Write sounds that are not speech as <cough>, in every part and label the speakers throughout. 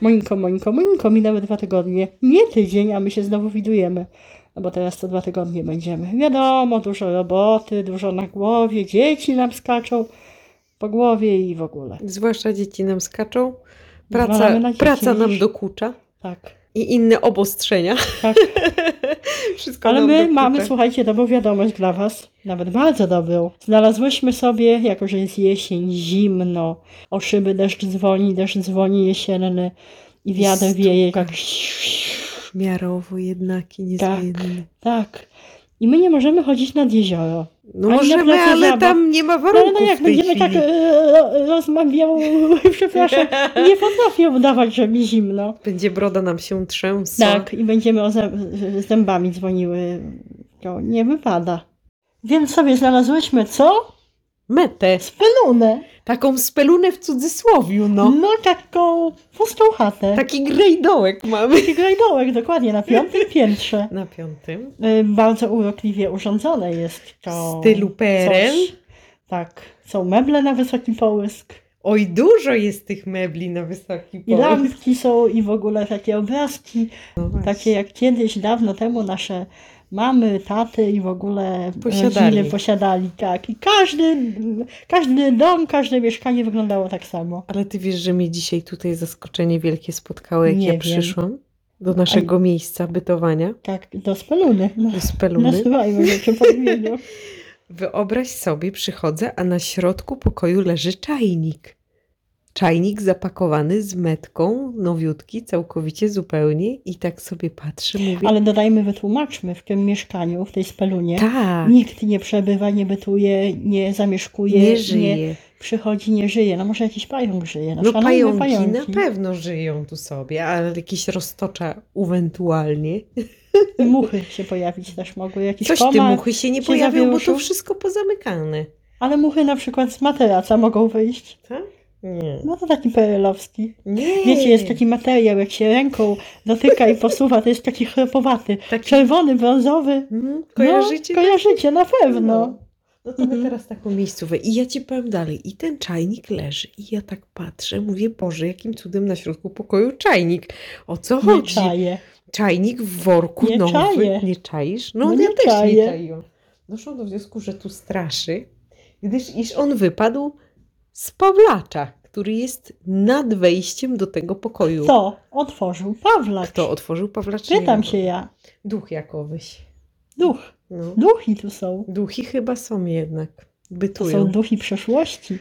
Speaker 1: Moinko, Moinko, Moinko, minęły dwa tygodnie. Nie tydzień, a my się znowu widujemy. No bo teraz to dwa tygodnie będziemy. Wiadomo, dużo roboty, dużo na głowie, dzieci nam skaczą po głowie i w ogóle.
Speaker 2: Zwłaszcza dzieci nam skaczą,
Speaker 1: Zwalamy
Speaker 2: praca,
Speaker 1: No, na dzieci,
Speaker 2: praca nam
Speaker 1: widzisz?
Speaker 2: dokucza
Speaker 1: Tak,
Speaker 2: i inne obostrzenia.
Speaker 1: tak.
Speaker 2: <laughs> Wszystko
Speaker 1: Ale
Speaker 2: nam
Speaker 1: my
Speaker 2: dokucza.
Speaker 1: mamy, słuchajcie, dobrą wiadomość dla Was, nawet bardzo dobrą. Znalazłyśmy sobie, jako że jest jesień, zimno, o szyby deszcz dzwoni, deszcz dzwoni jesienny i wiatr
Speaker 2: Stuka.
Speaker 1: wieje jak...
Speaker 2: Miarowo jednaki, niezmienny.
Speaker 1: Tak. I my nie możemy chodzić nad jezioro.
Speaker 2: No
Speaker 1: Ale na
Speaker 2: możemy,
Speaker 1: placu
Speaker 2: ale
Speaker 1: zabaw.
Speaker 2: tam nie ma
Speaker 1: No,
Speaker 2: warunków
Speaker 1: no jak
Speaker 2: w tej
Speaker 1: będziemy
Speaker 2: chwili.
Speaker 1: <laughs> tak e, ro- rozmawiał, <laughs>
Speaker 2: <laughs>
Speaker 1: przepraszam, nie potrafię udawać, że mi zimno.
Speaker 2: Będzie broda nam się trzęsła.
Speaker 1: Tak, i będziemy o zę- zębami dzwoniły. To nie wypada. Więc sobie znalazłyśmy co?
Speaker 2: Metę.
Speaker 1: Spelunę.
Speaker 2: Taką spelunę w cudzysłowiu,
Speaker 1: No,
Speaker 2: no. Tak.
Speaker 1: taką pustą chatę.
Speaker 2: Taki grejdołek mamy.
Speaker 1: Taki grajdołek, dokładnie, na
Speaker 2: <laughs>
Speaker 1: piątym piętrze.
Speaker 2: Na piątym.
Speaker 1: Y, Bardzo urokliwie urządzone jest to.
Speaker 2: W stylu PRL.
Speaker 1: coś. Tak, są meble na wysoki połysk.
Speaker 2: Oj, dużo jest tych mebli na wysoki
Speaker 1: I
Speaker 2: poziom.
Speaker 1: lampki są i w ogóle takie obrazki,
Speaker 2: No właśnie.
Speaker 1: takie jak kiedyś, dawno temu nasze mamy, taty i w ogóle
Speaker 2: Posiadali.
Speaker 1: rodziny posiadali, tak. I każdy, każdy dom, każde mieszkanie wyglądało tak samo.
Speaker 2: Ale ty wiesz, że mnie dzisiaj tutaj zaskoczenie wielkie spotkało, jak
Speaker 1: Nie
Speaker 2: ja
Speaker 1: wiem.
Speaker 2: przyszłam do naszego miejsca bytowania,
Speaker 1: Tak, do speluny. No,
Speaker 2: do speluny.
Speaker 1: Nazywajmy rzeczy po imieniu.
Speaker 2: Wyobraź sobie, przychodzę, a na środku pokoju leży czajnik. Czajnik zapakowany z metką, nowiutki, całkowicie zupełnie. I tak sobie patrzę, mówię,
Speaker 1: Ale dodajmy, wytłumaczmy, w tym mieszkaniu, w tej spelunie,
Speaker 2: tak,
Speaker 1: nikt nie przebywa, nie bytuje, nie zamieszkuje,
Speaker 2: nie żyje.
Speaker 1: przychodzi, nie żyje. No może jakiś pająk żyje. No,
Speaker 2: No
Speaker 1: szanujmy
Speaker 2: pająki
Speaker 1: pająki
Speaker 2: na pewno żyją tu sobie, ale jakieś roztocza ewentualnie.
Speaker 1: Muchy się pojawić też mogły, jakiś
Speaker 2: Coś ty
Speaker 1: komar.
Speaker 2: muchy się nie
Speaker 1: się
Speaker 2: pojawią, bo to
Speaker 1: zawiózł.
Speaker 2: wszystko pozamykane.
Speaker 1: Ale muchy na przykład z materaca mogą wyjść.
Speaker 2: Nie.
Speaker 1: No to taki perelowski.
Speaker 2: nie.
Speaker 1: Wiecie, jest taki materiał, jak się ręką dotyka i posuwa, to jest taki chropowaty.
Speaker 2: Taki-
Speaker 1: Czerwony, brązowy.
Speaker 2: Mm, kojarzycie?
Speaker 1: No, kojarzycie, na pewno.
Speaker 2: No. No to my
Speaker 1: Mhm.
Speaker 2: teraz taką miejscówę. I ja ci powiem dalej. I ten czajnik leży. I ja tak patrzę, mówię, Boże, jakim cudem na środku pokoju czajnik. O co
Speaker 1: Nie
Speaker 2: No. chodzi?
Speaker 1: czaję.
Speaker 2: Czajnik w worku
Speaker 1: Nie
Speaker 2: nowy.
Speaker 1: czaję.
Speaker 2: Nie czaisz? No,
Speaker 1: No
Speaker 2: ja
Speaker 1: nie
Speaker 2: też nie
Speaker 1: czaję.
Speaker 2: czaiłam. Doszłam do wniosku, że tu straszy, gdyż iż on wypadł z Pawlacza, który jest nad wejściem do tego pokoju.
Speaker 1: Kto otworzył Pawlak?
Speaker 2: Kto otworzył Pawlacza? Nie
Speaker 1: Pytam
Speaker 2: wiem.
Speaker 1: się ja.
Speaker 2: Duch jakowyś.
Speaker 1: Duch.
Speaker 2: No.
Speaker 1: Duchi tu są.
Speaker 2: Duchy chyba są jednak.
Speaker 1: To
Speaker 2: Bytują.
Speaker 1: są duchi
Speaker 2: <laughs>
Speaker 1: przeszłości.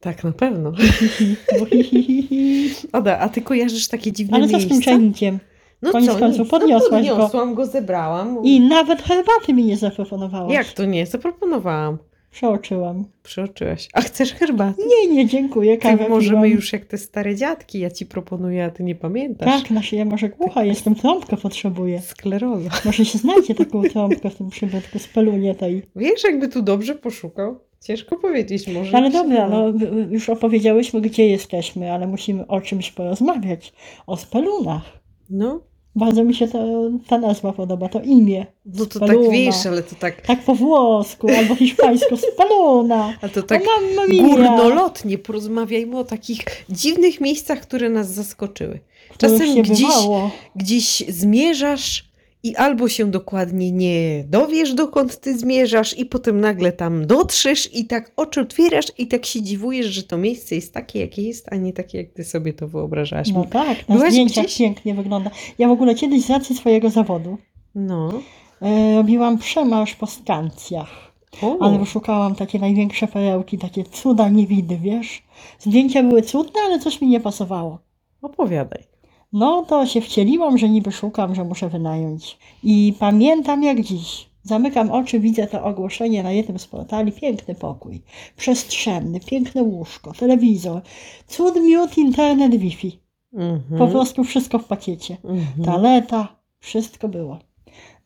Speaker 2: Tak, na pewno. <laughs>
Speaker 1: Duchi, hi, hi, hi.
Speaker 2: Ada, a ty kojarzysz takie dziwne
Speaker 1: Ale co z
Speaker 2: miejsca?
Speaker 1: tym czajnikiem?
Speaker 2: No
Speaker 1: Koniec
Speaker 2: co,
Speaker 1: końców
Speaker 2: nic, no
Speaker 1: podniosłaś go.
Speaker 2: podniosłam go, zebrałam.
Speaker 1: I nawet herbaty mi nie zaproponowałaś.
Speaker 2: Jak to nie? Zaproponowałam.
Speaker 1: Przeoczyłam.
Speaker 2: Przeoczyłaś. A chcesz herbatę?
Speaker 1: Nie, nie, dziękuję. Kawę
Speaker 2: Ty Tak możemy
Speaker 1: piłam.
Speaker 2: już jak te stare dziadki, ja ci proponuję, a ty nie pamiętasz.
Speaker 1: Tak, znaczy ja może głucha jestem, trąbkę potrzebuję.
Speaker 2: Skleroza.
Speaker 1: Może się znajdzie taką trąbkę w tym przypadku, z pelunie tej.
Speaker 2: Wiesz, jakby tu dobrze poszukał? Ciężko powiedzieć, może.
Speaker 1: Ale
Speaker 2: by się
Speaker 1: dobra,
Speaker 2: udało.
Speaker 1: no już opowiedziałyśmy, gdzie jesteśmy, ale musimy o czymś porozmawiać. O spelunach.
Speaker 2: No,
Speaker 1: Bardzo mi się to, ta nazwa podoba, to imię.
Speaker 2: no to
Speaker 1: Spalona.
Speaker 2: tak wiesz, ale to tak,
Speaker 1: Tak po włosku albo hiszpańsku, speluna. No,
Speaker 2: a to <laughs> tak
Speaker 1: o mamma mia.
Speaker 2: górnolotnie porozmawiajmy o takich dziwnych miejscach, które nas zaskoczyły.
Speaker 1: których
Speaker 2: Czasem
Speaker 1: się
Speaker 2: gdzieś
Speaker 1: bywało.
Speaker 2: gdzieś zmierzasz i albo się dokładnie nie dowiesz, dokąd ty zmierzasz, i potem nagle tam dotrzesz i tak oczy otwierasz i tak się dziwujesz, że to miejsce jest takie, jakie jest, a nie takie, jak ty sobie to wyobrażałaś.
Speaker 1: No
Speaker 2: No.
Speaker 1: tak, na
Speaker 2: Byłaś
Speaker 1: zdjęciach
Speaker 2: gdzieś?
Speaker 1: pięknie wygląda. Ja w ogóle kiedyś z racji swojego zawodu
Speaker 2: No.
Speaker 1: e, robiłam przemarsz po stancjach.
Speaker 2: O,
Speaker 1: Ale szukałam takie największe perełki, takie cuda niewidy, wiesz? Zdjęcia były cudne, ale coś mi nie pasowało.
Speaker 2: opowiadaj.
Speaker 1: No to się wcieliłam, że niby szukam, że muszę wynająć. I pamiętam jak dziś. Zamykam oczy, widzę to ogłoszenie na jednym z portali. Piękny pokój, przestrzenny, piękne łóżko, telewizor, cud, miód, internet, wifi.
Speaker 2: Mhm.
Speaker 1: Po prostu Tak, wszystko w pakiecie.
Speaker 2: Mhm.
Speaker 1: Taleta, wszystko było.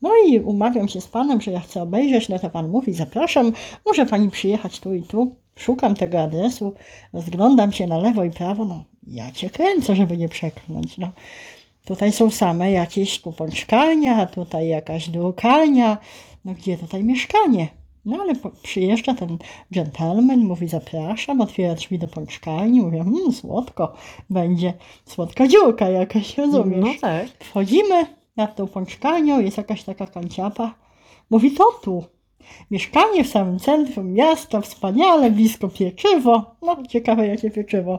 Speaker 1: No i umawiam się z panem, że ja chcę obejrzeć, no to pan mówi, zapraszam, może pani przyjechać tu i tu. Szukam tego adresu, rozglądam się na lewo i prawo, no ja cię kręcę, żeby nie przeklnąć, no. Tutaj są same jakieś kupączkarnia, tutaj jakaś drukarnia, no gdzie tutaj mieszkanie? No ale po, przyjeżdża ten dżentelmen, mówi zapraszam, otwiera drzwi do pączkarni, mówię, mmm, słodko, będzie słodka dziurka jakaś, rozumiesz?
Speaker 2: No tak.
Speaker 1: Wchodzimy nad tą pączkarnią, jest jakaś taka kanciapa. Mówi, to tu. Mieszkanie w samym centrum miasta, wspaniale, blisko pieczywo. No, ciekawe jakie pieczywo.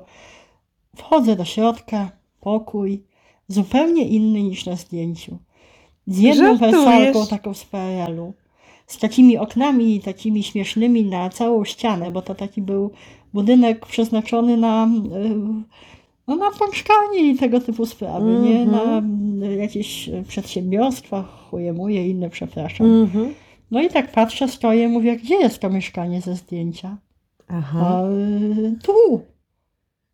Speaker 1: Wchodzę do środka, pokój, zupełnie inny niż na zdjęciu. Z jedną
Speaker 2: Żartujesz?
Speaker 1: wersalką taką z PRL-u. Z takimi oknami takimi śmiesznymi na całą ścianę, bo to taki był budynek przeznaczony na, y, no, na pączkanie i tego typu sprawy, nie
Speaker 2: Mhm.
Speaker 1: na y, jakieś y, przedsiębiorstwa, chuje moje, inne, przepraszam.
Speaker 2: Mhm.
Speaker 1: No i tak patrzę, stoję, mówię, gdzie jest to mieszkanie ze zdjęcia?
Speaker 2: Aha.
Speaker 1: A, y, tu.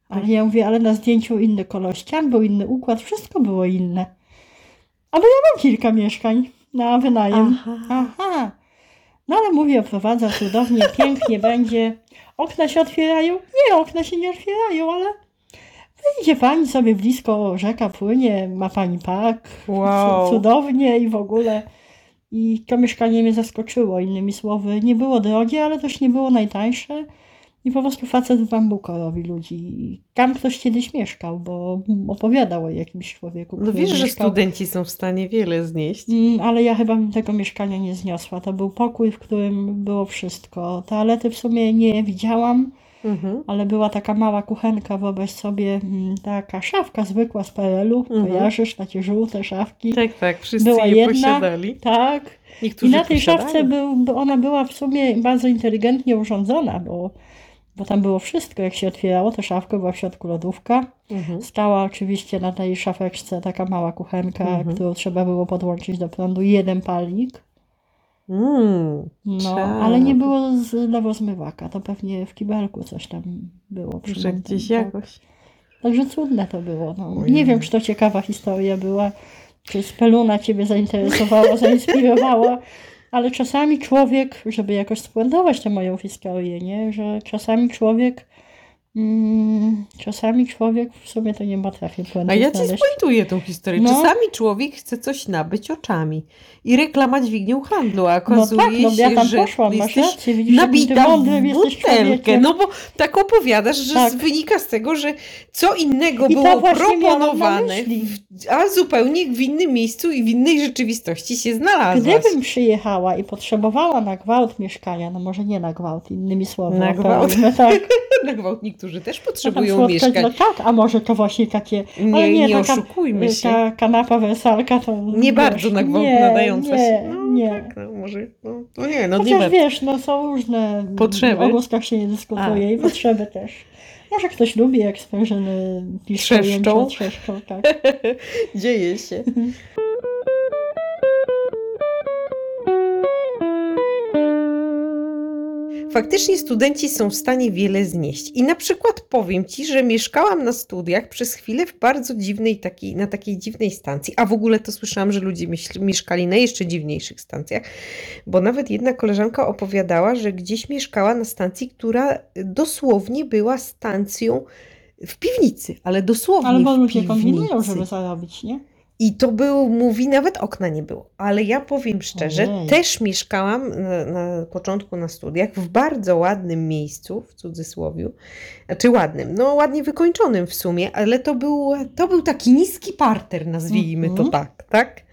Speaker 1: Ale ja mówię, ale na zdjęciu inny kolor ścian, był inny układ, wszystko było inne. Ale ja mam kilka mieszkań na wynajem.
Speaker 2: Aha.
Speaker 1: Aha. No ale mówię, oprowadza cudownie,
Speaker 2: <laughs>
Speaker 1: pięknie będzie. Okna się otwierają? Nie, okna się nie otwierają, ale wyjdzie pani sobie blisko, rzeka płynie, ma pani park,
Speaker 2: Wow.
Speaker 1: cu- cudownie i w ogóle. I to mieszkanie mnie zaskoczyło, innymi słowy. Nie było drogie, ale też nie było najtańsze. I po prostu facet w bambuko robi ludzi. I Tam ktoś kiedyś mieszkał, bo opowiadał o jakimś człowieku,
Speaker 2: No
Speaker 1: który
Speaker 2: wiesz, że
Speaker 1: mieszkał
Speaker 2: studenci są w stanie wiele znieść.
Speaker 1: Mm, ale ja chyba bym tego mieszkania nie zniosła. To był pokój, w którym było wszystko. Toalety w sumie nie widziałam,
Speaker 2: Mhm.
Speaker 1: ale była taka mała kuchenka, wyobraź sobie, mm, taka szafka zwykła z PRL-u,
Speaker 2: Mhm.
Speaker 1: kojarzysz, takie żółte szafki.
Speaker 2: Tak, tak, wszyscy
Speaker 1: Była
Speaker 2: je
Speaker 1: jedna.
Speaker 2: posiadali.
Speaker 1: Tak.
Speaker 2: Niektórzy
Speaker 1: I na tej
Speaker 2: posiadali.
Speaker 1: szafce był, bo ona była w sumie bardzo inteligentnie urządzona, bo, bo tam było wszystko. Jak się otwierało tę szafkę, była w środku lodówka.
Speaker 2: Mhm.
Speaker 1: Stała oczywiście na tej szafeczce taka mała kuchenka,
Speaker 2: Mhm.
Speaker 1: którą trzeba było podłączyć do prądu, jeden palnik.
Speaker 2: Mm.
Speaker 1: No,
Speaker 2: Trzeba.
Speaker 1: ale nie było z lewozmywaka, to pewnie w kibelku coś tam było. przy
Speaker 2: Że
Speaker 1: montażu,
Speaker 2: gdzieś
Speaker 1: tak.
Speaker 2: jakoś.
Speaker 1: Także cudne to było. No.
Speaker 2: Ojej.
Speaker 1: Nie wiem, czy to ciekawa historia była, czy speluna ciebie zainteresowała, <laughs> zainspirowała, ale czasami człowiek, żeby jakoś spuentować tę moją historię, nie? że czasami człowiek, mm, czasami człowiek w sumie to nie potrafi
Speaker 2: A
Speaker 1: puenty
Speaker 2: ja ci
Speaker 1: znaleźć.
Speaker 2: spuentuję tą historię.
Speaker 1: No.
Speaker 2: Czasami człowiek chce coś nabyć oczami i reklama dźwignią handlu, a
Speaker 1: No
Speaker 2: okazuje
Speaker 1: tak, no
Speaker 2: się,
Speaker 1: ja tam
Speaker 2: że
Speaker 1: poszłam, masz
Speaker 2: jesteś
Speaker 1: rację, widzisz, jakim ty
Speaker 2: nabita w
Speaker 1: mądrym jesteś
Speaker 2: butelkę.
Speaker 1: człowiekiem.
Speaker 2: No bo tak opowiadasz, że
Speaker 1: Tak.
Speaker 2: z- wynika z tego, że co innego
Speaker 1: I to
Speaker 2: było
Speaker 1: właśnie miałam na
Speaker 2: proponowane,
Speaker 1: myśli.
Speaker 2: a zupełnie w innym miejscu i w innej rzeczywistości się znalazłaś. <laughs>
Speaker 1: Gdybym przyjechała i potrzebowała na gwałt mieszkania, no może nie na gwałt, innymi słowy.
Speaker 2: Na
Speaker 1: operując, tak.
Speaker 2: Na gwałt niektórzy też
Speaker 1: No tam
Speaker 2: <laughs> potrzebują
Speaker 1: spotkać,
Speaker 2: mieszkań.
Speaker 1: No tak, a może to właśnie takie, ale
Speaker 2: Nie, nie,
Speaker 1: nie, taka- y,
Speaker 2: oszukujmy się.
Speaker 1: ta kanapa wersalka to...
Speaker 2: Nie bardzo na gwałt nadająca
Speaker 1: nie,
Speaker 2: się.
Speaker 1: Nie,
Speaker 2: No,
Speaker 1: nie.
Speaker 2: Tak, no, może, no, no nie, no nie
Speaker 1: Chociaż
Speaker 2: bardzo.
Speaker 1: wiesz, no są różne...
Speaker 2: Potrzeby.
Speaker 1: O głoskach się nie dyskutuje i potrzeby też. Może ktoś lubi, jak sprężyny piszą,
Speaker 2: Trzeszczą.
Speaker 1: jęczą, trzeszczą, tak.
Speaker 2: <laughs> Dzieje się. Faktycznie studenci są w stanie wiele znieść. I na przykład powiem Ci, że mieszkałam na studiach przez chwilę w bardzo dziwnej takiej, na takiej dziwnej stacji. A w ogóle to słyszałam, że ludzie myśl, mieszkali na jeszcze dziwniejszych stacjach, bo nawet jedna koleżanka opowiadała, że gdzieś mieszkała na stacji, która dosłownie była stacją w piwnicy, ale dosłownie
Speaker 1: Albo
Speaker 2: w
Speaker 1: ludzie kombinują,
Speaker 2: piwnicy.
Speaker 1: żeby zarobić, nie?
Speaker 2: I to był, mówi, nawet okna nie było. Ale ja powiem szczerze,
Speaker 1: Ojej.
Speaker 2: też mieszkałam na, na początku na studiach w bardzo ładnym miejscu, w cudzysłowie. Znaczy ładnym, no ładnie wykończonym w sumie, ale to był, to był taki niski parter, nazwijmy to
Speaker 1: Mhm.
Speaker 2: tak, tak?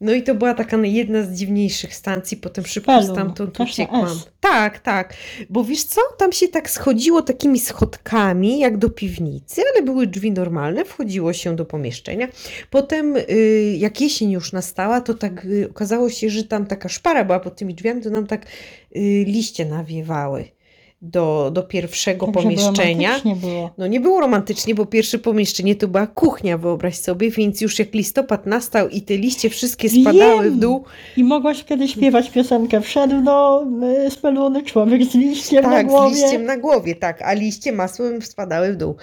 Speaker 2: No i to była taka jedna z dziwniejszych stacji, potem szybko
Speaker 1: Pelun,
Speaker 2: stamtąd
Speaker 1: też na
Speaker 2: uciekłam.
Speaker 1: S.
Speaker 2: Tak, tak. Bo wiesz co, tam się tak schodziło takimi schodkami jak do piwnicy, ale były drzwi normalne, wchodziło się do pomieszczenia. Potem y, jak jesień już nastała, to tak y, okazało się, że tam taka szpara była pod tymi drzwiami, to nam tak y, liście nawiewały do, do pierwszego
Speaker 1: Tak, żeby
Speaker 2: pomieszczenia.
Speaker 1: romantycznie było.
Speaker 2: No nie było romantycznie, bo pierwsze pomieszczenie to była kuchnia, wyobraź sobie, więc już jak listopad nastał i te liście wszystkie
Speaker 1: Wiem.
Speaker 2: spadały w dół,
Speaker 1: I mogłaś wtedy śpiewać piosenkę Wszedł do y, speluny człowiek z liściem na
Speaker 2: tak,
Speaker 1: głowie.
Speaker 2: z liściem na głowie, tak, a liście masłem spadały w dół.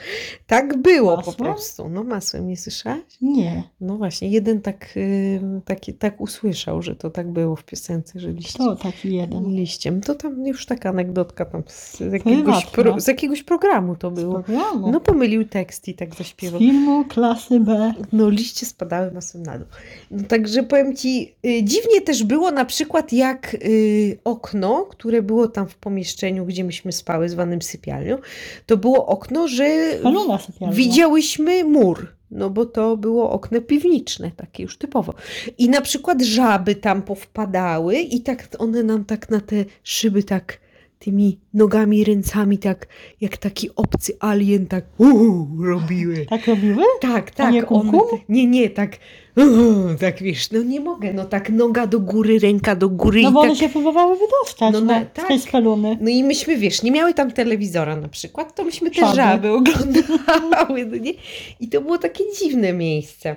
Speaker 2: Tak było po
Speaker 1: Masłem?
Speaker 2: prostu. No masłem, nie słyszałaś?
Speaker 1: Nie,
Speaker 2: No właśnie, jeden tak, ym, taki, tak usłyszał, że to tak było w piosence, że liście,
Speaker 1: to taki jeden.
Speaker 2: liściem. To tam już taka anegdotka tam z z, jakiegoś
Speaker 1: Prywatna.
Speaker 2: pro, z jakiegoś programu to
Speaker 1: Z
Speaker 2: było.
Speaker 1: programu.
Speaker 2: No pomylił tekst i tak
Speaker 1: z
Speaker 2: zaśpiewał.
Speaker 1: filmu klasy B.
Speaker 2: No liście spadały masą na dół. No, także powiem Ci, y, dziwnie też było na przykład jak y, okno, które było tam w pomieszczeniu, gdzie myśmy spały, zwanym sypialnią, to było okno, że
Speaker 1: Palona sypialna.
Speaker 2: widziałyśmy mur. No bo to było okno piwniczne, takie już typowo. I na przykład żaby tam powpadały i tak one nam tak na te szyby tak tymi nogami, ręcami tak jak taki obcy alien tak uuu, robiły.
Speaker 1: Tak robiły?
Speaker 2: Tak,
Speaker 1: A
Speaker 2: tak.
Speaker 1: nie
Speaker 2: one
Speaker 1: kuku?
Speaker 2: te- nie, nie, tak. Uuu, tak wiesz, no nie mogę, no tak noga do góry, ręka do góry
Speaker 1: No
Speaker 2: i
Speaker 1: bo
Speaker 2: tak.
Speaker 1: one się próbowały wydostać
Speaker 2: No
Speaker 1: no,
Speaker 2: na-
Speaker 1: no,
Speaker 2: tak.
Speaker 1: z tej speluny.
Speaker 2: No i myśmy, wiesz, nie miały tam telewizora na przykład, to myśmy te
Speaker 1: Żaby.
Speaker 2: żaby oglądały, no nie? I to było takie dziwne miejsce.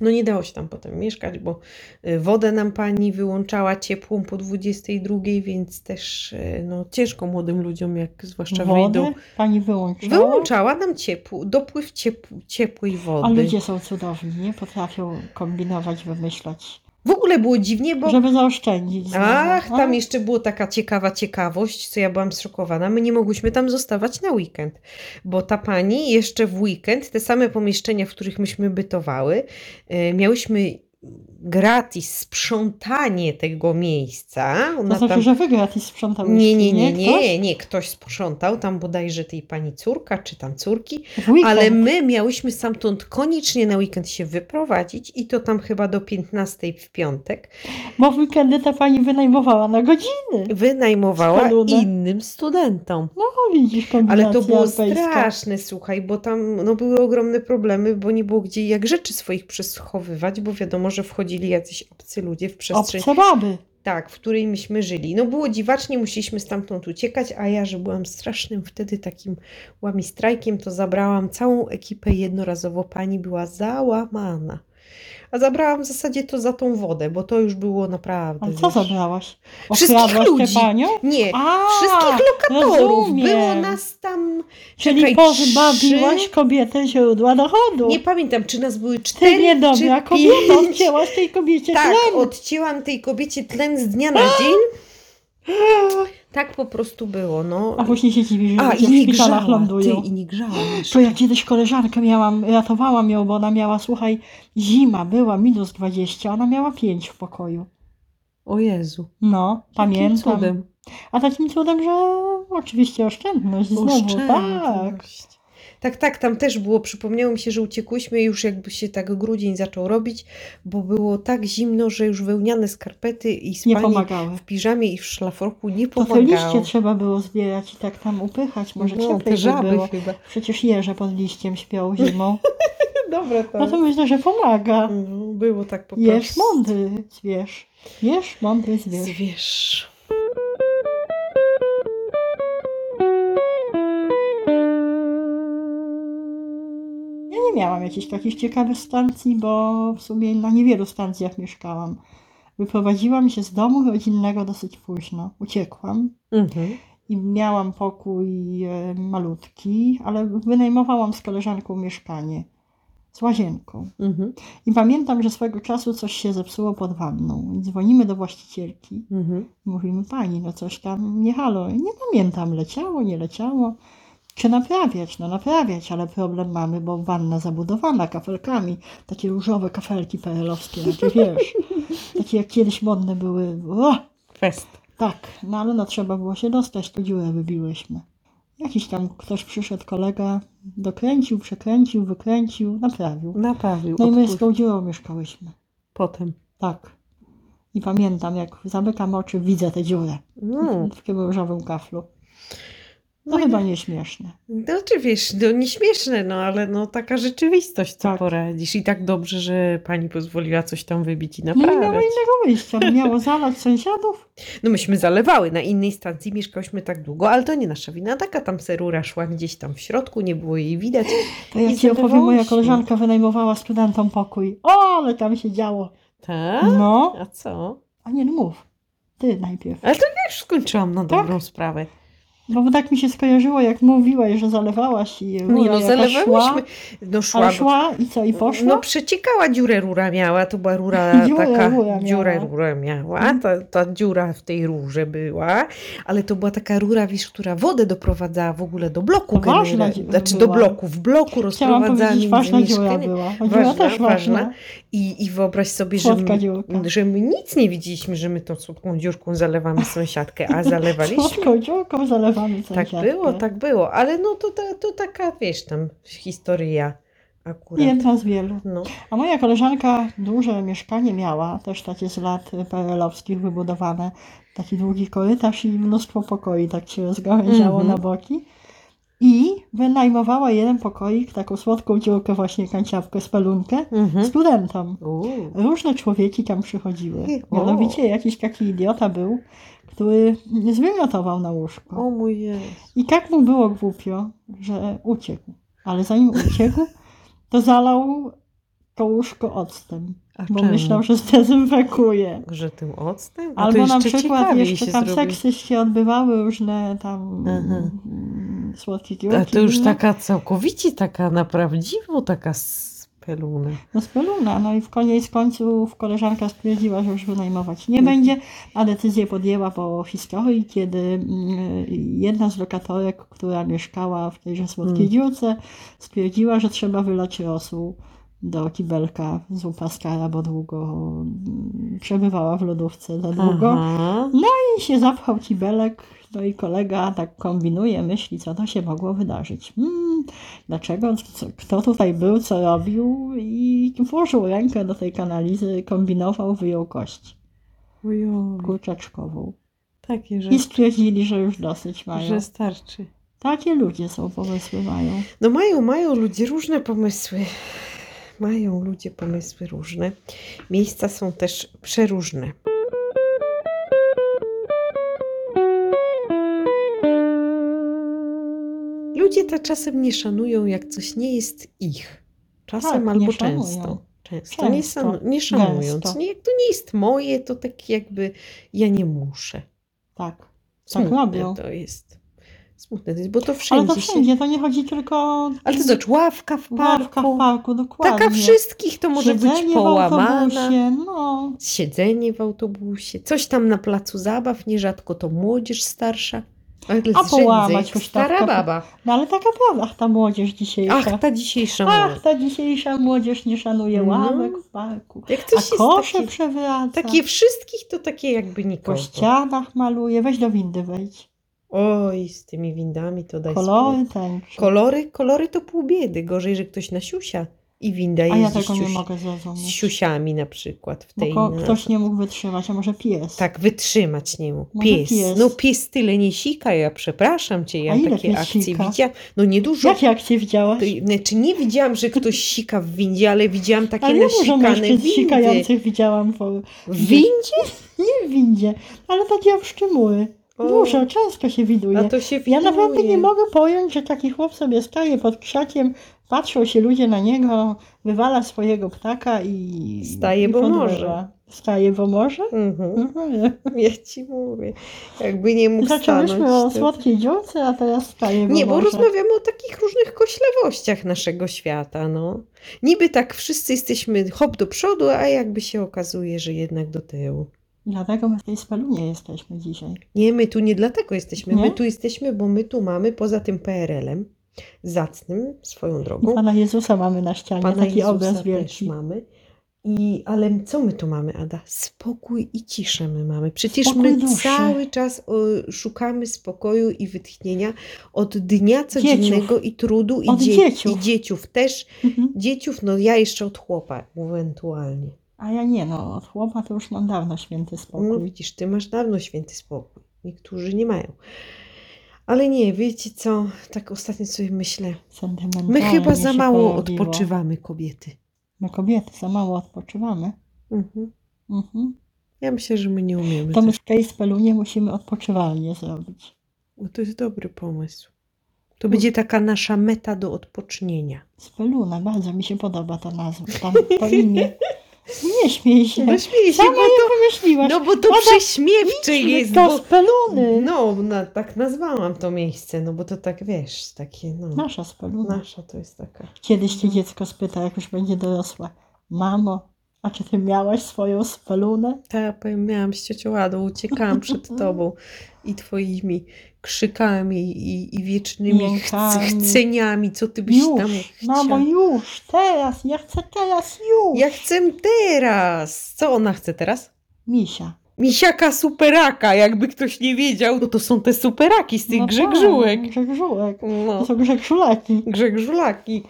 Speaker 2: No nie dało się tam potem mieszkać, bo y, wodę nam pani wyłączała ciepłą po 22, więc też y, no, ciężko młodym ludziom, jak zwłaszcza wyjdą.
Speaker 1: Wodę pani wyłączyła.
Speaker 2: Wyłączała nam ciepło, dopływ ciepł, ciepłej wody.
Speaker 1: A ludzie są cudowni, nie potrafią kombinować, wymyślać,
Speaker 2: W ogóle było dziwnie, bo
Speaker 1: żeby zaoszczędzić. znowu.
Speaker 2: Ach, tam
Speaker 1: A,
Speaker 2: jeszcze była taka ciekawa ciekawość, co ja byłam zszokowana. My nie mogłyśmy tam zostawać na weekend, bo ta pani jeszcze w weekend, te same pomieszczenia, w których myśmy bytowały, e, miałyśmy gratis sprzątanie tego miejsca.
Speaker 1: To
Speaker 2: Ona
Speaker 1: znaczy,
Speaker 2: tam...
Speaker 1: że wygra i sprzątał
Speaker 2: Nie,
Speaker 1: jeśli
Speaker 2: nie, nie,
Speaker 1: Ktoś?
Speaker 2: nie, nie, ktoś sprzątał tam bodajże tej pani córka, czy tam córki,
Speaker 1: W weekend.
Speaker 2: ale my miałyśmy stamtąd koniecznie na weekend się wyprowadzić i to tam chyba do 15 w piątek.
Speaker 1: Bo w weekendy ta pani wynajmowała na godziny.
Speaker 2: wynajmowała
Speaker 1: Spalone.
Speaker 2: innym studentom.
Speaker 1: No widzisz, kombinacja
Speaker 2: Ale to było
Speaker 1: alpejska.
Speaker 2: straszne, słuchaj, bo tam no, były ogromne problemy, bo nie było gdzie jak rzeczy swoich przeschowywać, bo wiadomo, że wchodzili jacyś obcy ludzie w przestrzeń,
Speaker 1: Obce baby.
Speaker 2: tak, w której myśmy żyli. No było dziwacznie, musieliśmy stamtąd uciekać, a ja, że byłam strasznym wtedy takim łamistrajkiem, to zabrałam całą ekipę jednorazowo, pani była załamana. A zabrałam w zasadzie to za tą wodę, bo to już było naprawdę...
Speaker 1: Ale co
Speaker 2: wiesz.
Speaker 1: zabrałaś?
Speaker 2: Wszystkich
Speaker 1: Okradłaś
Speaker 2: ludzi.
Speaker 1: tę panią?
Speaker 2: Nie,
Speaker 1: A,
Speaker 2: wszystkich lokatorów.
Speaker 1: No rozumiem.
Speaker 2: Było nas tam.
Speaker 1: Czyli
Speaker 2: czekaj,
Speaker 1: pozbawiłaś
Speaker 2: trzy?
Speaker 1: kobietę źródła dochodu.
Speaker 2: Nie pamiętam, czy nas były cztery.
Speaker 1: Ty niedobra
Speaker 2: czy
Speaker 1: kobieta,
Speaker 2: pięć.
Speaker 1: odcięłaś tej kobiecie
Speaker 2: Tak,
Speaker 1: tlen.
Speaker 2: odcięłam tej kobiecie tlen z dnia na
Speaker 1: <gasps>
Speaker 2: dzień. Tak po prostu było, no.
Speaker 1: A później się dziwi, że
Speaker 2: A,
Speaker 1: ludzie
Speaker 2: i
Speaker 1: w
Speaker 2: nie
Speaker 1: szpitalach
Speaker 2: grzała. Ty,
Speaker 1: lądują.
Speaker 2: i nie grzała.
Speaker 1: To
Speaker 2: jeszcze.
Speaker 1: ja kiedyś koleżankę miałam, ratowałam ją, bo ona miała, słuchaj, zima była, minus 20, ona miała 5 w pokoju.
Speaker 2: O Jezu.
Speaker 1: No,
Speaker 2: jakim
Speaker 1: pamiętam.
Speaker 2: Cudem.
Speaker 1: A tak takim cudem, że oczywiście oszczędność znowu, tak.
Speaker 2: Oszczędność. Tak, tak, tam też było. Przypomniało mi się, że uciekłyśmy i już jakby się tak grudzień zaczął robić, bo było tak zimno, że już wełniane skarpety i
Speaker 1: Nie
Speaker 2: spanie
Speaker 1: pomagały.
Speaker 2: w piżamie i w szlafroku nie
Speaker 1: To te liście
Speaker 2: pomagało.
Speaker 1: trzeba było zbierać i tak tam upychać, może
Speaker 2: No,
Speaker 1: cieplej
Speaker 2: te żaby Tak.
Speaker 1: by było.
Speaker 2: chyba.
Speaker 1: Przecież jeże pod liściem śpią
Speaker 2: <laughs>
Speaker 1: zimą.
Speaker 2: Dobra,
Speaker 1: No
Speaker 2: tak.
Speaker 1: to myślę, że pomaga.
Speaker 2: No, Było tak po
Speaker 1: Jesz
Speaker 2: prostu.
Speaker 1: mądry zwierz. Jesz mądry zwierz.
Speaker 2: Zwierz.
Speaker 1: Ja nie miałam jakichś takich ciekawych stacji, bo w sumie na niewielu stacjach mieszkałam. Wyprowadziłam się z domu rodzinnego dosyć późno. Uciekłam
Speaker 2: Mhm.
Speaker 1: i miałam pokój e, malutki, ale wynajmowałam z koleżanką mieszkanie z łazienką.
Speaker 2: Mhm.
Speaker 1: I pamiętam, że swego czasu coś się zepsuło pod wanną. I dzwonimy do właścicielki.
Speaker 2: Mhm.
Speaker 1: Mówimy, pani, no coś tam nie halo. Nie pamiętam, leciało, nie leciało. Czy naprawiać? No naprawiać, ale problem mamy, bo wanna zabudowana kafelkami. Takie różowe kafelki PRL-owskie, takie no wiesz. Takie jak kiedyś modne były. O,
Speaker 2: Fest.
Speaker 1: tak, no ale no trzeba było się dostać, tu dziurę wybiłyśmy. Jakiś tam ktoś przyszedł, kolega, dokręcił, przekręcił, wykręcił, naprawił.
Speaker 2: Naprawił.
Speaker 1: No i my z
Speaker 2: odpuścił.
Speaker 1: tą dziurą mieszkałyśmy.
Speaker 2: Potem.
Speaker 1: Tak. I pamiętam, jak zamykam oczy, widzę tę dziurę
Speaker 2: No.
Speaker 1: w takim różowym kaflu. No,
Speaker 2: No i-
Speaker 1: chyba nieśmieszne.
Speaker 2: No czy wiesz, no nieśmieszne, no ale no taka rzeczywistość, co
Speaker 1: Tak.
Speaker 2: poradzisz. I tak dobrze, że pani pozwoliła coś tam wybić i
Speaker 1: No nie miało
Speaker 2: naprawiać.
Speaker 1: innego wyjścia. No Miało zalać sąsiadów.
Speaker 2: No myśmy zalewały, na innej stacji mieszkałyśmy tak długo, ale to nie nasza wina. Taka tam serura szła gdzieś tam w środku, nie było jej widać.
Speaker 1: To ja
Speaker 2: I
Speaker 1: ci opowiem, moja
Speaker 2: zalewałyśmy.
Speaker 1: koleżanka wynajmowała studentom pokój. O, ale tam się działo.
Speaker 2: Tak?
Speaker 1: No,
Speaker 2: A co?
Speaker 1: a nie no mów. Ty najpierw.
Speaker 2: Ale to ja już skończyłam na
Speaker 1: Tak?
Speaker 2: dobrą sprawę.
Speaker 1: Bo tak mi się skojarzyło, jak mówiłaś, że zalewałaś i rura
Speaker 2: Nie, no
Speaker 1: jaka
Speaker 2: zalewałyśmy.
Speaker 1: szła,
Speaker 2: No
Speaker 1: ale
Speaker 2: szła,
Speaker 1: szła i co, i poszła?
Speaker 2: No przeciekała dziurę rura miała, to była rura
Speaker 1: <laughs> Dziurę
Speaker 2: taka,
Speaker 1: rura miała.
Speaker 2: dziurę rura miała, ta, ta dziura w tej rurze była, ale to była taka rura, wiesz, która wodę doprowadzała w ogóle do bloku,
Speaker 1: Poważna
Speaker 2: genera-
Speaker 1: dziura
Speaker 2: znaczy do
Speaker 1: była.
Speaker 2: bloku, w bloku
Speaker 1: Chciałam
Speaker 2: rozprowadzała
Speaker 1: powiedzieć,
Speaker 2: między
Speaker 1: ważna dziura
Speaker 2: mieszkania.
Speaker 1: była. A Dziura
Speaker 2: Ważna,
Speaker 1: też ważna.
Speaker 2: ważna. I, I wyobraź sobie, że
Speaker 1: Słodka
Speaker 2: my,
Speaker 1: dziurka.
Speaker 2: że my nic nie widzieliśmy, że my tą słodką
Speaker 1: <laughs>
Speaker 2: dziurką zalewamy sąsiadkę, a zalewaliśmy
Speaker 1: Słodką dziurką zalewamy
Speaker 2: Tak
Speaker 1: sąsiadkę.
Speaker 2: było, tak było, ale no to, to, to taka, wiesz, tam historia akurat.
Speaker 1: Jedna z wielu.
Speaker 2: No,
Speaker 1: A moja koleżanka duże mieszkanie miała, też takie z lat PRL-owskich wybudowane, taki długi korytarz i mnóstwo pokoi, tak się rozgałęziało
Speaker 2: Mhm.
Speaker 1: na boki. I wynajmowała jeden pokoik, taką słodką dziurkę właśnie, kanciapkę, spelunkę,
Speaker 2: mhm.
Speaker 1: studentom.
Speaker 2: Uuu.
Speaker 1: Różne człowieki tam przychodziły.
Speaker 2: O.
Speaker 1: Mianowicie jakiś taki idiota był, który zwymiotował na łóżko.
Speaker 2: O mój Jezu.
Speaker 1: I tak mu było głupio, że uciekł. Ale zanim uciekł, to zalał to łóżko octem,
Speaker 2: A
Speaker 1: bo
Speaker 2: czemu?
Speaker 1: myślał, że zdezynfekuje.
Speaker 2: że tym octem? A to
Speaker 1: Albo na
Speaker 2: jeszcze
Speaker 1: przykład
Speaker 2: ciekawiej
Speaker 1: jeszcze
Speaker 2: się
Speaker 1: tam
Speaker 2: zrobi.
Speaker 1: seksy się odbywały, różne tam
Speaker 2: Aha.
Speaker 1: mm, słodkie
Speaker 2: A
Speaker 1: dziurki
Speaker 2: to już
Speaker 1: były.
Speaker 2: taka całkowicie, taka na prawdziwo, taka speluna.
Speaker 1: No z Peluna. No i w koniec końców koleżanka stwierdziła, że już wynajmować nie będzie, a decyzję podjęła po historii, kiedy mm, jedna z lokatorek, która mieszkała w tejże słodkiej
Speaker 2: Mm.
Speaker 1: dziurce, stwierdziła, że trzeba wylać rosół do kibelka z upaskara, bo długo mm, przebywała w lodówce za długo.
Speaker 2: Aha.
Speaker 1: I się zapchał kibelek, no i kolega tak kombinuje, myśli, co to się mogło wydarzyć. Hmm, dlaczego, co, kto tutaj był, co robił i włożył rękę do tej kanalizy, kombinował, wyjął kość
Speaker 2: Ujo,
Speaker 1: kurczaczkową.
Speaker 2: takie, że,
Speaker 1: I stwierdzili, że już dosyć mają.
Speaker 2: że starczy.
Speaker 1: Takie ludzie są, pomysły mają.
Speaker 2: No mają, mają ludzie różne pomysły. Mają ludzie pomysły różne. Miejsca są też przeróżne. Ludzie to czasem nie szanują, jak coś nie jest ich. Czasem
Speaker 1: Tak, nie
Speaker 2: albo
Speaker 1: szanują.
Speaker 2: często. Często nie,
Speaker 1: Często.
Speaker 2: san- nie szanują.
Speaker 1: Gęsto.
Speaker 2: Nie, jak to nie jest moje, to tak jakby ja nie muszę.
Speaker 1: Tak.
Speaker 2: Smutne
Speaker 1: robią.
Speaker 2: to jest. Smutne to jest, bo to wszędzie,
Speaker 1: Ale to
Speaker 2: się
Speaker 1: wszędzie, to nie chodzi tylko o
Speaker 2: ale to zobacz, ławka w
Speaker 1: ławka
Speaker 2: parku.
Speaker 1: w parku, dokładnie.
Speaker 2: Taka wszystkich to może
Speaker 1: Siedzenie
Speaker 2: być
Speaker 1: w
Speaker 2: połamana.
Speaker 1: autobusie, No,
Speaker 2: Siedzenie w autobusie, coś tam na placu zabaw, nierzadko to młodzież starsza. Ale to
Speaker 1: A
Speaker 2: jest rzędzej,
Speaker 1: połamać tak
Speaker 2: jak
Speaker 1: huśtawka.
Speaker 2: Stara baba.
Speaker 1: no ale taka prawda, ach, ta młodzież dzisiejsza.
Speaker 2: Ach, ta dzisiejsza
Speaker 1: Ach,
Speaker 2: młodzież.
Speaker 1: ta dzisiejsza młodzież nie szanuje
Speaker 2: No.
Speaker 1: ławek w parku.
Speaker 2: Jak coś
Speaker 1: A
Speaker 2: jest
Speaker 1: kosze
Speaker 2: takie,
Speaker 1: przewraca.
Speaker 2: takie wszystkich, to takie jakby
Speaker 1: po
Speaker 2: nikogo.
Speaker 1: ścianach maluje. Weź do windy wejdź.
Speaker 2: Oj, z tymi windami to daj spokój.
Speaker 1: Kolory tęczy.
Speaker 2: Kolory, kolory to pół biedy. Gorzej, że ktoś na siusia i winda
Speaker 1: A
Speaker 2: jeździ
Speaker 1: ja tego
Speaker 2: z,
Speaker 1: nie
Speaker 2: siusi-
Speaker 1: mogę
Speaker 2: z
Speaker 1: zrozumieć.
Speaker 2: siusiami na przykład. W
Speaker 1: Bo
Speaker 2: tej
Speaker 1: ko-
Speaker 2: na-
Speaker 1: ktoś nie mógł wytrzymać, a może pies.
Speaker 2: Tak, wytrzymać nie mógł.
Speaker 1: Może
Speaker 2: Pies.
Speaker 1: pies.
Speaker 2: No pies tyle nie sika, ja przepraszam cię, ja
Speaker 1: A ile
Speaker 2: takie
Speaker 1: pies
Speaker 2: akcje
Speaker 1: sika?
Speaker 2: widziałam. No niedużo.
Speaker 1: Jakie akcje widziałaś?
Speaker 2: To, znaczy nie widziałam, że ktoś sika w windzie, ale widziałam takie
Speaker 1: Ale nie dużo
Speaker 2: nasikane
Speaker 1: mężczyzn
Speaker 2: windy.
Speaker 1: sikających widziałam po...
Speaker 2: W windzie?
Speaker 1: nie w windzie, ale takie owszczymuły.
Speaker 2: O,
Speaker 1: Dużo, często się widuje.
Speaker 2: A to się
Speaker 1: Ja naprawdę
Speaker 2: widuje.
Speaker 1: nie mogę pojąć, że taki chłop sobie staje pod krzakiem, patrzą się ludzie na niego, wywala swojego ptaka i.
Speaker 2: Staje,
Speaker 1: i
Speaker 2: bo
Speaker 1: podrywa.
Speaker 2: może.
Speaker 1: Staje, bo może?
Speaker 2: Mhm, <laughs>
Speaker 1: Mhm.
Speaker 2: ja ci mówię. Jakby nie mógł
Speaker 1: Zaczęłyśmy o
Speaker 2: stanąć. to-
Speaker 1: słodkiej dziurce, a teraz staje, bo
Speaker 2: Nie, bo
Speaker 1: może.
Speaker 2: rozmawiamy o takich różnych koślewościach naszego świata, no. Niby tak wszyscy jesteśmy hop do przodu, a jakby się okazuje, że jednak do tyłu.
Speaker 1: Dlatego my w tej spelunie jesteśmy dzisiaj.
Speaker 2: Nie, my tu nie dlatego jesteśmy.
Speaker 1: Nie?
Speaker 2: My tu jesteśmy, bo my tu mamy poza tym PRL-em, zacnym swoją
Speaker 1: I
Speaker 2: drogą.
Speaker 1: Pana Jezusa mamy na ścianie,
Speaker 2: Pana
Speaker 1: taki
Speaker 2: Jezusa
Speaker 1: obraz
Speaker 2: też
Speaker 1: wielki.
Speaker 2: mamy. I, ale co my tu mamy, Ada? Spokój i ciszę my mamy. Przecież
Speaker 1: Spokój
Speaker 2: my
Speaker 1: duszy.
Speaker 2: cały czas o, szukamy spokoju i wytchnienia od dnia codziennego i trudu i,
Speaker 1: Od dzieciów.
Speaker 2: i dzieciów też.
Speaker 1: Mhm.
Speaker 2: Dzieciów, no ja jeszcze od chłopa ewentualnie.
Speaker 1: A ja nie, no, od chłopa to już mam dawno święty
Speaker 2: No
Speaker 1: spokój.
Speaker 2: widzisz, ty masz dawno święty spokój. Niektórzy nie mają. Ale nie, wiecie co, tak ostatnio sobie myślę.
Speaker 1: Sentymentalnie
Speaker 2: My chyba za
Speaker 1: się
Speaker 2: mało
Speaker 1: pojawiło.
Speaker 2: odpoczywamy kobiety.
Speaker 1: My kobiety za mało odpoczywamy.
Speaker 2: Mhm.
Speaker 1: Mhm.
Speaker 2: Ja myślę, że my nie umiemy.
Speaker 1: To my
Speaker 2: też.
Speaker 1: w tej spelunie musimy odpoczywalnie zrobić.
Speaker 2: O, to jest dobry pomysł. To będzie taka nasza meta do odpocznienia. <laughs>
Speaker 1: Speluna, bardzo mi się podoba ta nazwa, tam, to imię. No Nie śmiej się.
Speaker 2: Bo śmieję się,
Speaker 1: Sama
Speaker 2: No bo
Speaker 1: je wymyśliłaś.
Speaker 2: No bo to
Speaker 1: Ona-
Speaker 2: prześmiewcze jest,
Speaker 1: to
Speaker 2: bo...
Speaker 1: z peluny.
Speaker 2: No, na, tak nazwałam to miejsce, no bo to tak, wiesz, takie, no...
Speaker 1: Nasza z peluny.
Speaker 2: Nasza to jest taka.
Speaker 1: Kiedyś cię dziecko spyta, jak już będzie dorosłe. Mamo, a czy ty miałaś swoją spelunę?
Speaker 2: Ta, Tak, ja powiem, miałam z ciocią Adą, uciekałam
Speaker 1: <laughs>
Speaker 2: przed tobą i twoimi krzykami i, i wiecznymi chc-
Speaker 1: Jękami.
Speaker 2: chceniami, co ty byś
Speaker 1: No tak. Już,
Speaker 2: tam
Speaker 1: Mamo,
Speaker 2: chciała.
Speaker 1: już, teraz, ja chcę teraz, już.
Speaker 2: Ja chcę teraz! Co ona chce teraz?
Speaker 1: Misia.
Speaker 2: Misiaka superaka, jakby ktoś nie wiedział, no to są te superaki z tych
Speaker 1: No
Speaker 2: grzegżółek.
Speaker 1: Tak, grzegżółek. To
Speaker 2: No,
Speaker 1: są <laughs> grzegżulaki.
Speaker 2: grzegżulaki.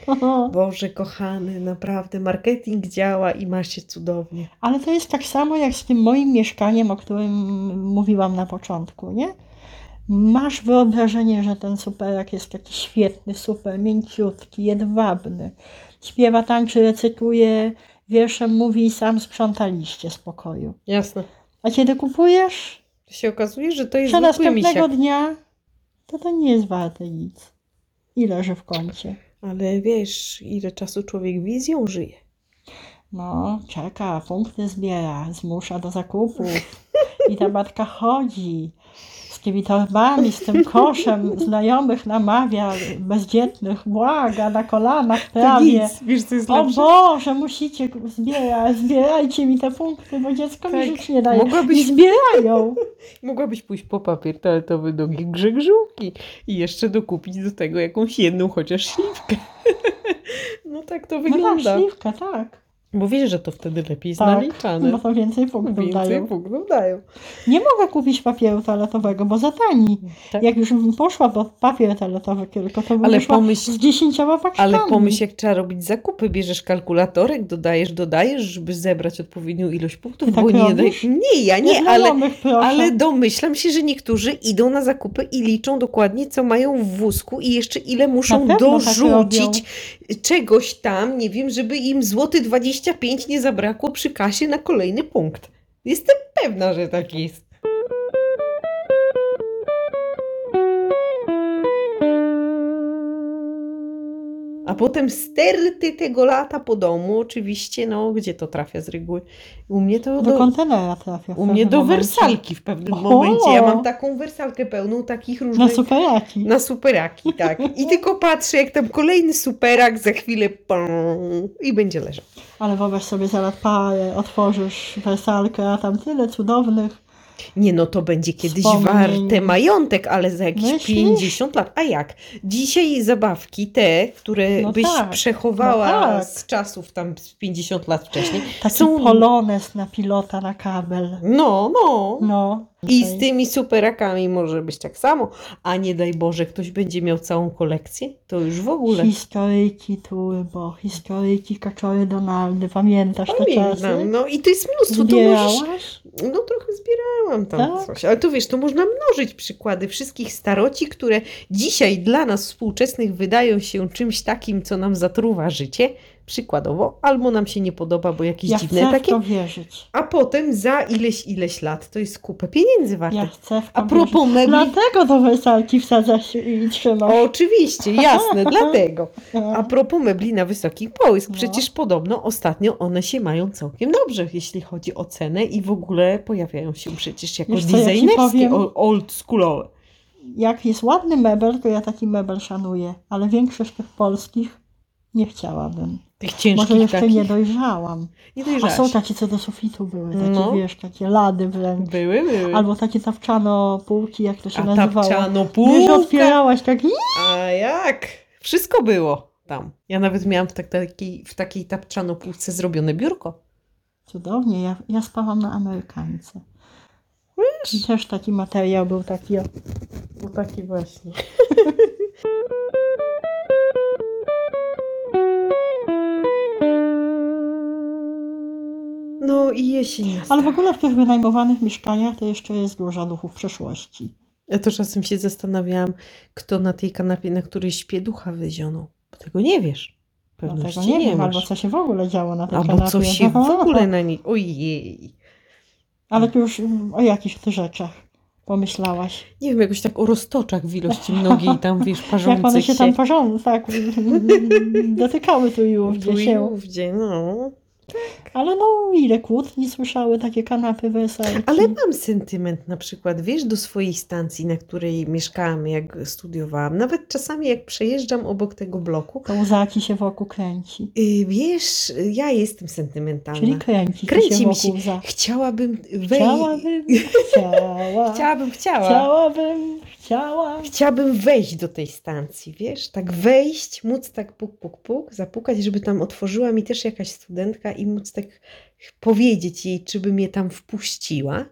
Speaker 2: Boże kochany, naprawdę marketing działa i ma się cudownie.
Speaker 1: Ale to jest tak samo jak z tym moim mieszkaniem, o którym mówiłam na początku, nie? Masz wyobrażenie, że ten superak jest taki świetny, super, mięciutki, jedwabny. Śpiewa, tańczy, recytuje, wierszem mówi i sam sprząta liście z pokoju.
Speaker 2: Jasne.
Speaker 1: A kiedy kupujesz,
Speaker 2: To się okazuje, że to jest
Speaker 1: że
Speaker 2: zwykły
Speaker 1: następnego
Speaker 2: misiak.
Speaker 1: dnia, to to nie jest warte nic. I leży w kącie.
Speaker 2: Ale wiesz, ile czasu człowiek wizją żyje.
Speaker 1: No, czeka, punkty zbiera, zmusza do zakupów. I ta matka chodzi z tymi torbami, z tym koszem, znajomych namawia, bezdzietnych, błaga na kolanach
Speaker 2: To
Speaker 1: prawie.
Speaker 2: nic, wiesz co jest
Speaker 1: O
Speaker 2: lepsze?
Speaker 1: Boże, musicie zbierać, zbierajcie mi te punkty, bo dziecko mi
Speaker 2: Tak.
Speaker 1: żyć nie daje. I
Speaker 2: Mogłabyś,
Speaker 1: zbierają.
Speaker 2: mogłabyś pójść po papier toaletowy do grzegżółki i jeszcze dokupić do tego jakąś jedną chociaż śliwkę. <laughs> No tak to
Speaker 1: No tak,
Speaker 2: <laughs> wygląda.
Speaker 1: śliwka, tak.
Speaker 2: Bo wiesz, że to wtedy lepiej jest
Speaker 1: Tak,
Speaker 2: naliczane.
Speaker 1: Bo to więcej punktów
Speaker 2: Więcej
Speaker 1: dają.
Speaker 2: punktów dają.
Speaker 1: Nie mogę kupić papieru toaletowego, bo za tani.
Speaker 2: Tak.
Speaker 1: Jak już bym poszła po papier toaletowy tylko, to bym
Speaker 2: Ale
Speaker 1: wyszła
Speaker 2: pomyśl,
Speaker 1: z dziesięcioma paczkami.
Speaker 2: ale pomyśl, jak trzeba robić zakupy. Bierzesz kalkulatorek, dodajesz, dodajesz, żeby zebrać odpowiednią ilość punktów,
Speaker 1: Ty tak
Speaker 2: bo nie,
Speaker 1: robisz?
Speaker 2: nie ja nie, ale,
Speaker 1: Nieznajomych proszę.
Speaker 2: Ale domyślam się, że niektórzy idą na zakupy i liczą dokładnie, co mają w wózku i jeszcze ile muszą
Speaker 1: Na pewno tak robią.
Speaker 2: dorzucić czegoś tam, nie wiem, żeby im złoty 25 nie zabrakło przy kasie na kolejny punkt. Jestem pewna, że tak jest. A potem sterty tego lata po domu, oczywiście, no gdzie to trafia z reguły? U mnie to
Speaker 1: Do kontenera trafia. w
Speaker 2: u mnie
Speaker 1: pewnym
Speaker 2: do
Speaker 1: momencie.
Speaker 2: wersalki w pewnym
Speaker 1: O!
Speaker 2: momencie. Ja mam tak, No. taką wersalkę pełną takich
Speaker 1: Na
Speaker 2: różnych.
Speaker 1: superaki.
Speaker 2: Na superaki, tak. I tylko patrzę, jak tam kolejny superak za chwilę pum, i będzie leżał.
Speaker 1: Ale wyobraź sobie, zaraz parę, otworzysz wersalkę, a tam tyle cudownych.
Speaker 2: Nie no, to będzie kiedyś
Speaker 1: Wspomnień.
Speaker 2: warte majątek, ale za jakieś
Speaker 1: Myślisz?
Speaker 2: 50 lat. A jak? Dzisiaj zabawki te, które
Speaker 1: No
Speaker 2: byś
Speaker 1: tak,
Speaker 2: przechowała
Speaker 1: no tak.
Speaker 2: z czasów tam z 50 lat wcześniej.
Speaker 1: Taki
Speaker 2: Są-
Speaker 1: polones na pilota, na kabel.
Speaker 2: No, no.
Speaker 1: No.
Speaker 2: I
Speaker 1: Okej.
Speaker 2: z tymi superakami może być tak samo. A nie daj Boże, ktoś będzie miał całą kolekcję? To już w ogóle.
Speaker 1: Historyki Turbo, historyki Kaczory Donaldy. Pamiętasz te czasy?
Speaker 2: Pamiętam, no i to jest mnóstwo, to możesz,
Speaker 1: Zbierałaś?
Speaker 2: no trochę zbierałam tam
Speaker 1: Tak?
Speaker 2: coś, ale to wiesz, to można mnożyć przykłady wszystkich staroci, które dzisiaj dla nas współczesnych wydają się czymś takim, co nam zatruwa życie, przykładowo, albo nam się nie podoba, bo jakieś
Speaker 1: Ja
Speaker 2: dziwne
Speaker 1: chcę w
Speaker 2: takie,
Speaker 1: to wierzyć.
Speaker 2: a potem za ileś, ileś lat to jest kupę pieniędzy wartych.
Speaker 1: Ja chcę w to
Speaker 2: A propos
Speaker 1: wierzyć.
Speaker 2: mebli,
Speaker 1: Dlatego do wersalki wsadzasz i i trzymasz.
Speaker 2: oczywiście,
Speaker 1: <laughs>
Speaker 2: jasne, dlatego.
Speaker 1: No.
Speaker 2: A propos mebli na wysokich połysk,
Speaker 1: No.
Speaker 2: przecież podobno ostatnio one się mają całkiem dobrze, jeśli chodzi o cenę i w ogóle pojawiają się przecież jako
Speaker 1: Wiesz co, ja ci
Speaker 2: designerskie,
Speaker 1: powiem?
Speaker 2: o- oldschoolowe.
Speaker 1: jak jest ładny mebel, to ja taki mebel szanuję, ale większość tych polskich nie chciałabym.
Speaker 2: Tych
Speaker 1: Może
Speaker 2: ciężkich
Speaker 1: jeszcze
Speaker 2: takich.
Speaker 1: nie dojrzałam.
Speaker 2: nie
Speaker 1: A
Speaker 2: dojrzałaś.
Speaker 1: są tak- takie, co do sufitu były, takie
Speaker 2: No.
Speaker 1: wiesz, takie lady wręcz.
Speaker 2: Były, były.
Speaker 1: Albo takie tapczano półki, jak to się
Speaker 2: A
Speaker 1: nazywało.
Speaker 2: tapczano
Speaker 1: Wiesz,
Speaker 2: półka.
Speaker 1: otwierałaś tak i
Speaker 2: A jak? Wszystko było tam. Ja nawet miałam w, tak, takiej, w takiej tapczano półce zrobione biurko.
Speaker 1: cudownie, ja, ja spałam na Amerykance. I też taki materiał był taki. o-
Speaker 2: No taki właśnie. No i jesień. jest
Speaker 1: Ale w
Speaker 2: taka.
Speaker 1: ogóle w tych wynajmowanych mieszkaniach to jeszcze jest dużo duchów przeszłości.
Speaker 2: Ja to czasem się zastanawiałam, kto na tej kanapie, na której śpię, ducha wyzionął. Bo tego nie wiesz.
Speaker 1: No
Speaker 2: Pewności
Speaker 1: tego nie, wiem,
Speaker 2: masz.
Speaker 1: albo co się w ogóle działo na tej
Speaker 2: Albo
Speaker 1: kanapie.
Speaker 2: co
Speaker 1: <laughs>
Speaker 2: się w ogóle na niej... Ojej.
Speaker 1: Ale to już mm, o jakichś ty rzeczach pomyślałaś.
Speaker 2: Nie wiem, jakoś tak o roztoczach w ilości mnogiej tam, wiesz,
Speaker 1: <laughs>
Speaker 2: parzących
Speaker 1: Jak one się tam parzą, tak, <laughs> dotykały tu i ówdzie
Speaker 2: Tu i
Speaker 1: się.
Speaker 2: ówdzie, no.
Speaker 1: Ale no ile kłótni słyszały, takie kanapy weselki.
Speaker 2: Ale mam sentyment na przykład, wiesz, do swojej stacji, na której mieszkałam, jak studiowałam. Nawet czasami jak przejeżdżam obok tego bloku,
Speaker 1: To łzaki się wokół kręci.
Speaker 2: y, wiesz, y, ja jestem sentymentalna.
Speaker 1: Czyli kręci,
Speaker 2: Kręci
Speaker 1: kręci się
Speaker 2: mi
Speaker 1: wokół
Speaker 2: się.
Speaker 1: łza.
Speaker 2: Chciałabym wejść.
Speaker 1: Chciałabym, chciała,
Speaker 2: Chciałabym, <laughs> chciała.
Speaker 1: chciałabym, chciała.
Speaker 2: Chciałabym wejść do tej stacji, wiesz? Tak wejść, móc tak puk, puk, puk, zapukać, żeby tam otworzyła mi też jakaś studentka i móc tak powiedzieć jej, czy by mnie tam wpuściła.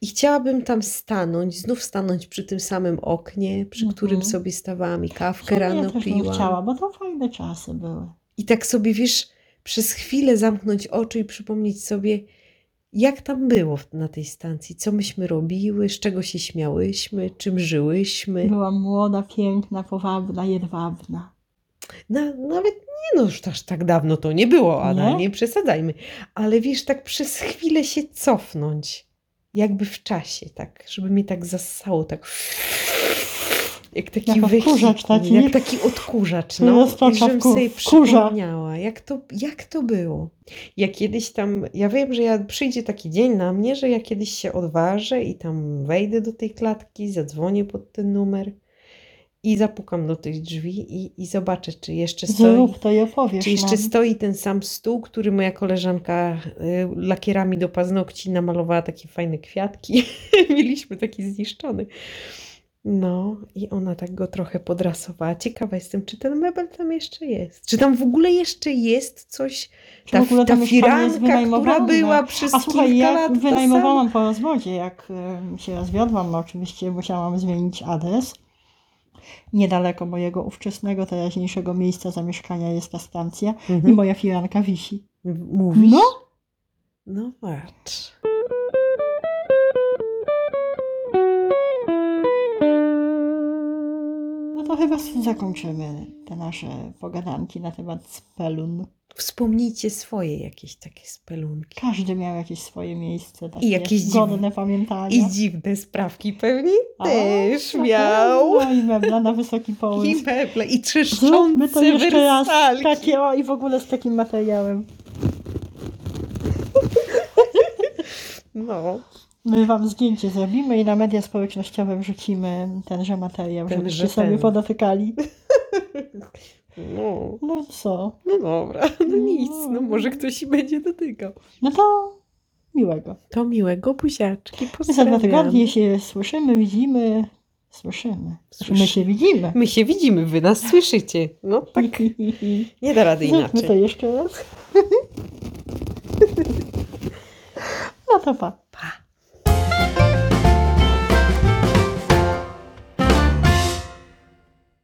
Speaker 2: I chciałabym tam stanąć, znów stanąć przy tym samym oknie, przy
Speaker 1: Mhm.
Speaker 2: którym sobie stawałam i
Speaker 1: W
Speaker 2: kawkę
Speaker 1: sumie ja
Speaker 2: rano
Speaker 1: też bym
Speaker 2: piłam.
Speaker 1: chciała, bo to fajne czasy były.
Speaker 2: I tak sobie, wiesz, przez chwilę zamknąć oczy i przypomnieć sobie, jak tam było w- na tej stacji, co myśmy robiły, z czego się śmiałyśmy, czym żyłyśmy.
Speaker 1: Byłam młoda, piękna, powabna, jedwabna.
Speaker 2: Na, nawet nie no, już aż tak dawno to nie było, Ada,
Speaker 1: Nie?
Speaker 2: nie? przesadzajmy. Ale wiesz, tak przez chwilę się cofnąć, jakby w czasie, tak, żeby mnie tak zasało, tak jak taki
Speaker 1: Jak odkurzacz tak?
Speaker 2: wehikuł,
Speaker 1: taki.
Speaker 2: jak taki odkurzacz, no,
Speaker 1: Roztocza
Speaker 2: i żebym
Speaker 1: w kur-
Speaker 2: sobie
Speaker 1: w kurza.
Speaker 2: przypomniała, jak to, jak to było. Ja kiedyś tam, ja wiem, że ja, przyjdzie taki dzień na mnie, że ja kiedyś się odważę i tam wejdę do tej klatki, zadzwonię pod ten numer i zapukam do tych drzwi i, i zobaczę, czy jeszcze stoi,
Speaker 1: Zrób to i opowiesz
Speaker 2: czy jeszcze
Speaker 1: nam.
Speaker 2: stoi ten sam stół, który moja koleżanka y, lakierami do paznokci namalowała takie fajne kwiatki. <laughs> Mieliśmy taki zniszczony. No i ona tak go trochę podrasowała. Ciekawa jestem, czy ten mebel tam jeszcze jest. Czy tam w ogóle jeszcze jest coś,
Speaker 1: Czy w
Speaker 2: ta,
Speaker 1: ogóle to
Speaker 2: ta
Speaker 1: mieszkanie jest
Speaker 2: firanka, która
Speaker 1: wynajmowane?
Speaker 2: była przez
Speaker 1: A słuchaj,
Speaker 2: kilka
Speaker 1: ja
Speaker 2: lat ta sama?
Speaker 1: wynajmowałam po rozwodzie, jak em, się rozwiodłam, no oczywiście musiałam zmienić adres. Niedaleko mojego ówczesnego, teraźniejszego miejsca zamieszkania jest ta stacja i
Speaker 2: Mhm.
Speaker 1: moja firanka wisi.
Speaker 2: Mówisz?
Speaker 1: No.
Speaker 2: No patrz.
Speaker 1: No to chyba z tym zakończymy te nasze pogadanki na temat spelun.
Speaker 2: Wspomnijcie swoje jakieś takie spelunki.
Speaker 1: Każdy miał jakieś swoje miejsce, takie
Speaker 2: jakieś dziw-
Speaker 1: godne pamiętania.
Speaker 2: I dziwne sprawki pewnie
Speaker 1: A,
Speaker 2: też
Speaker 1: na
Speaker 2: miał.
Speaker 1: pewno, I mebla na wysoki
Speaker 2: I
Speaker 1: połysk.
Speaker 2: meble, i
Speaker 1: Zróbmy to
Speaker 2: trzeszczące
Speaker 1: jeszcze raz. Tak.
Speaker 2: wersalki.
Speaker 1: Takie, o, i w ogóle z takim materiałem.
Speaker 2: No,
Speaker 1: My wam zdjęcie zrobimy i na media społecznościowe wrzucimy tenże materiał,
Speaker 2: Tenże
Speaker 1: żebyście sobie
Speaker 2: ten.
Speaker 1: podotykali.
Speaker 2: no,
Speaker 1: No co?
Speaker 2: no dobra, no nic, no może ktoś i będzie dotykał.
Speaker 1: No to miłego.
Speaker 2: To miłego buziaczki,
Speaker 1: My za dwa
Speaker 2: pozdrawiam.
Speaker 1: tygodnie się słyszymy, widzimy. Słyszymy.
Speaker 2: Słyszymy.
Speaker 1: My się widzimy.
Speaker 2: My się widzimy, wy nas słyszycie. No tak, <laughs>
Speaker 1: <laughs>
Speaker 2: nie da rady
Speaker 1: No Zróbmy to
Speaker 2: inaczej.
Speaker 1: jeszcze raz. <laughs> No to pa.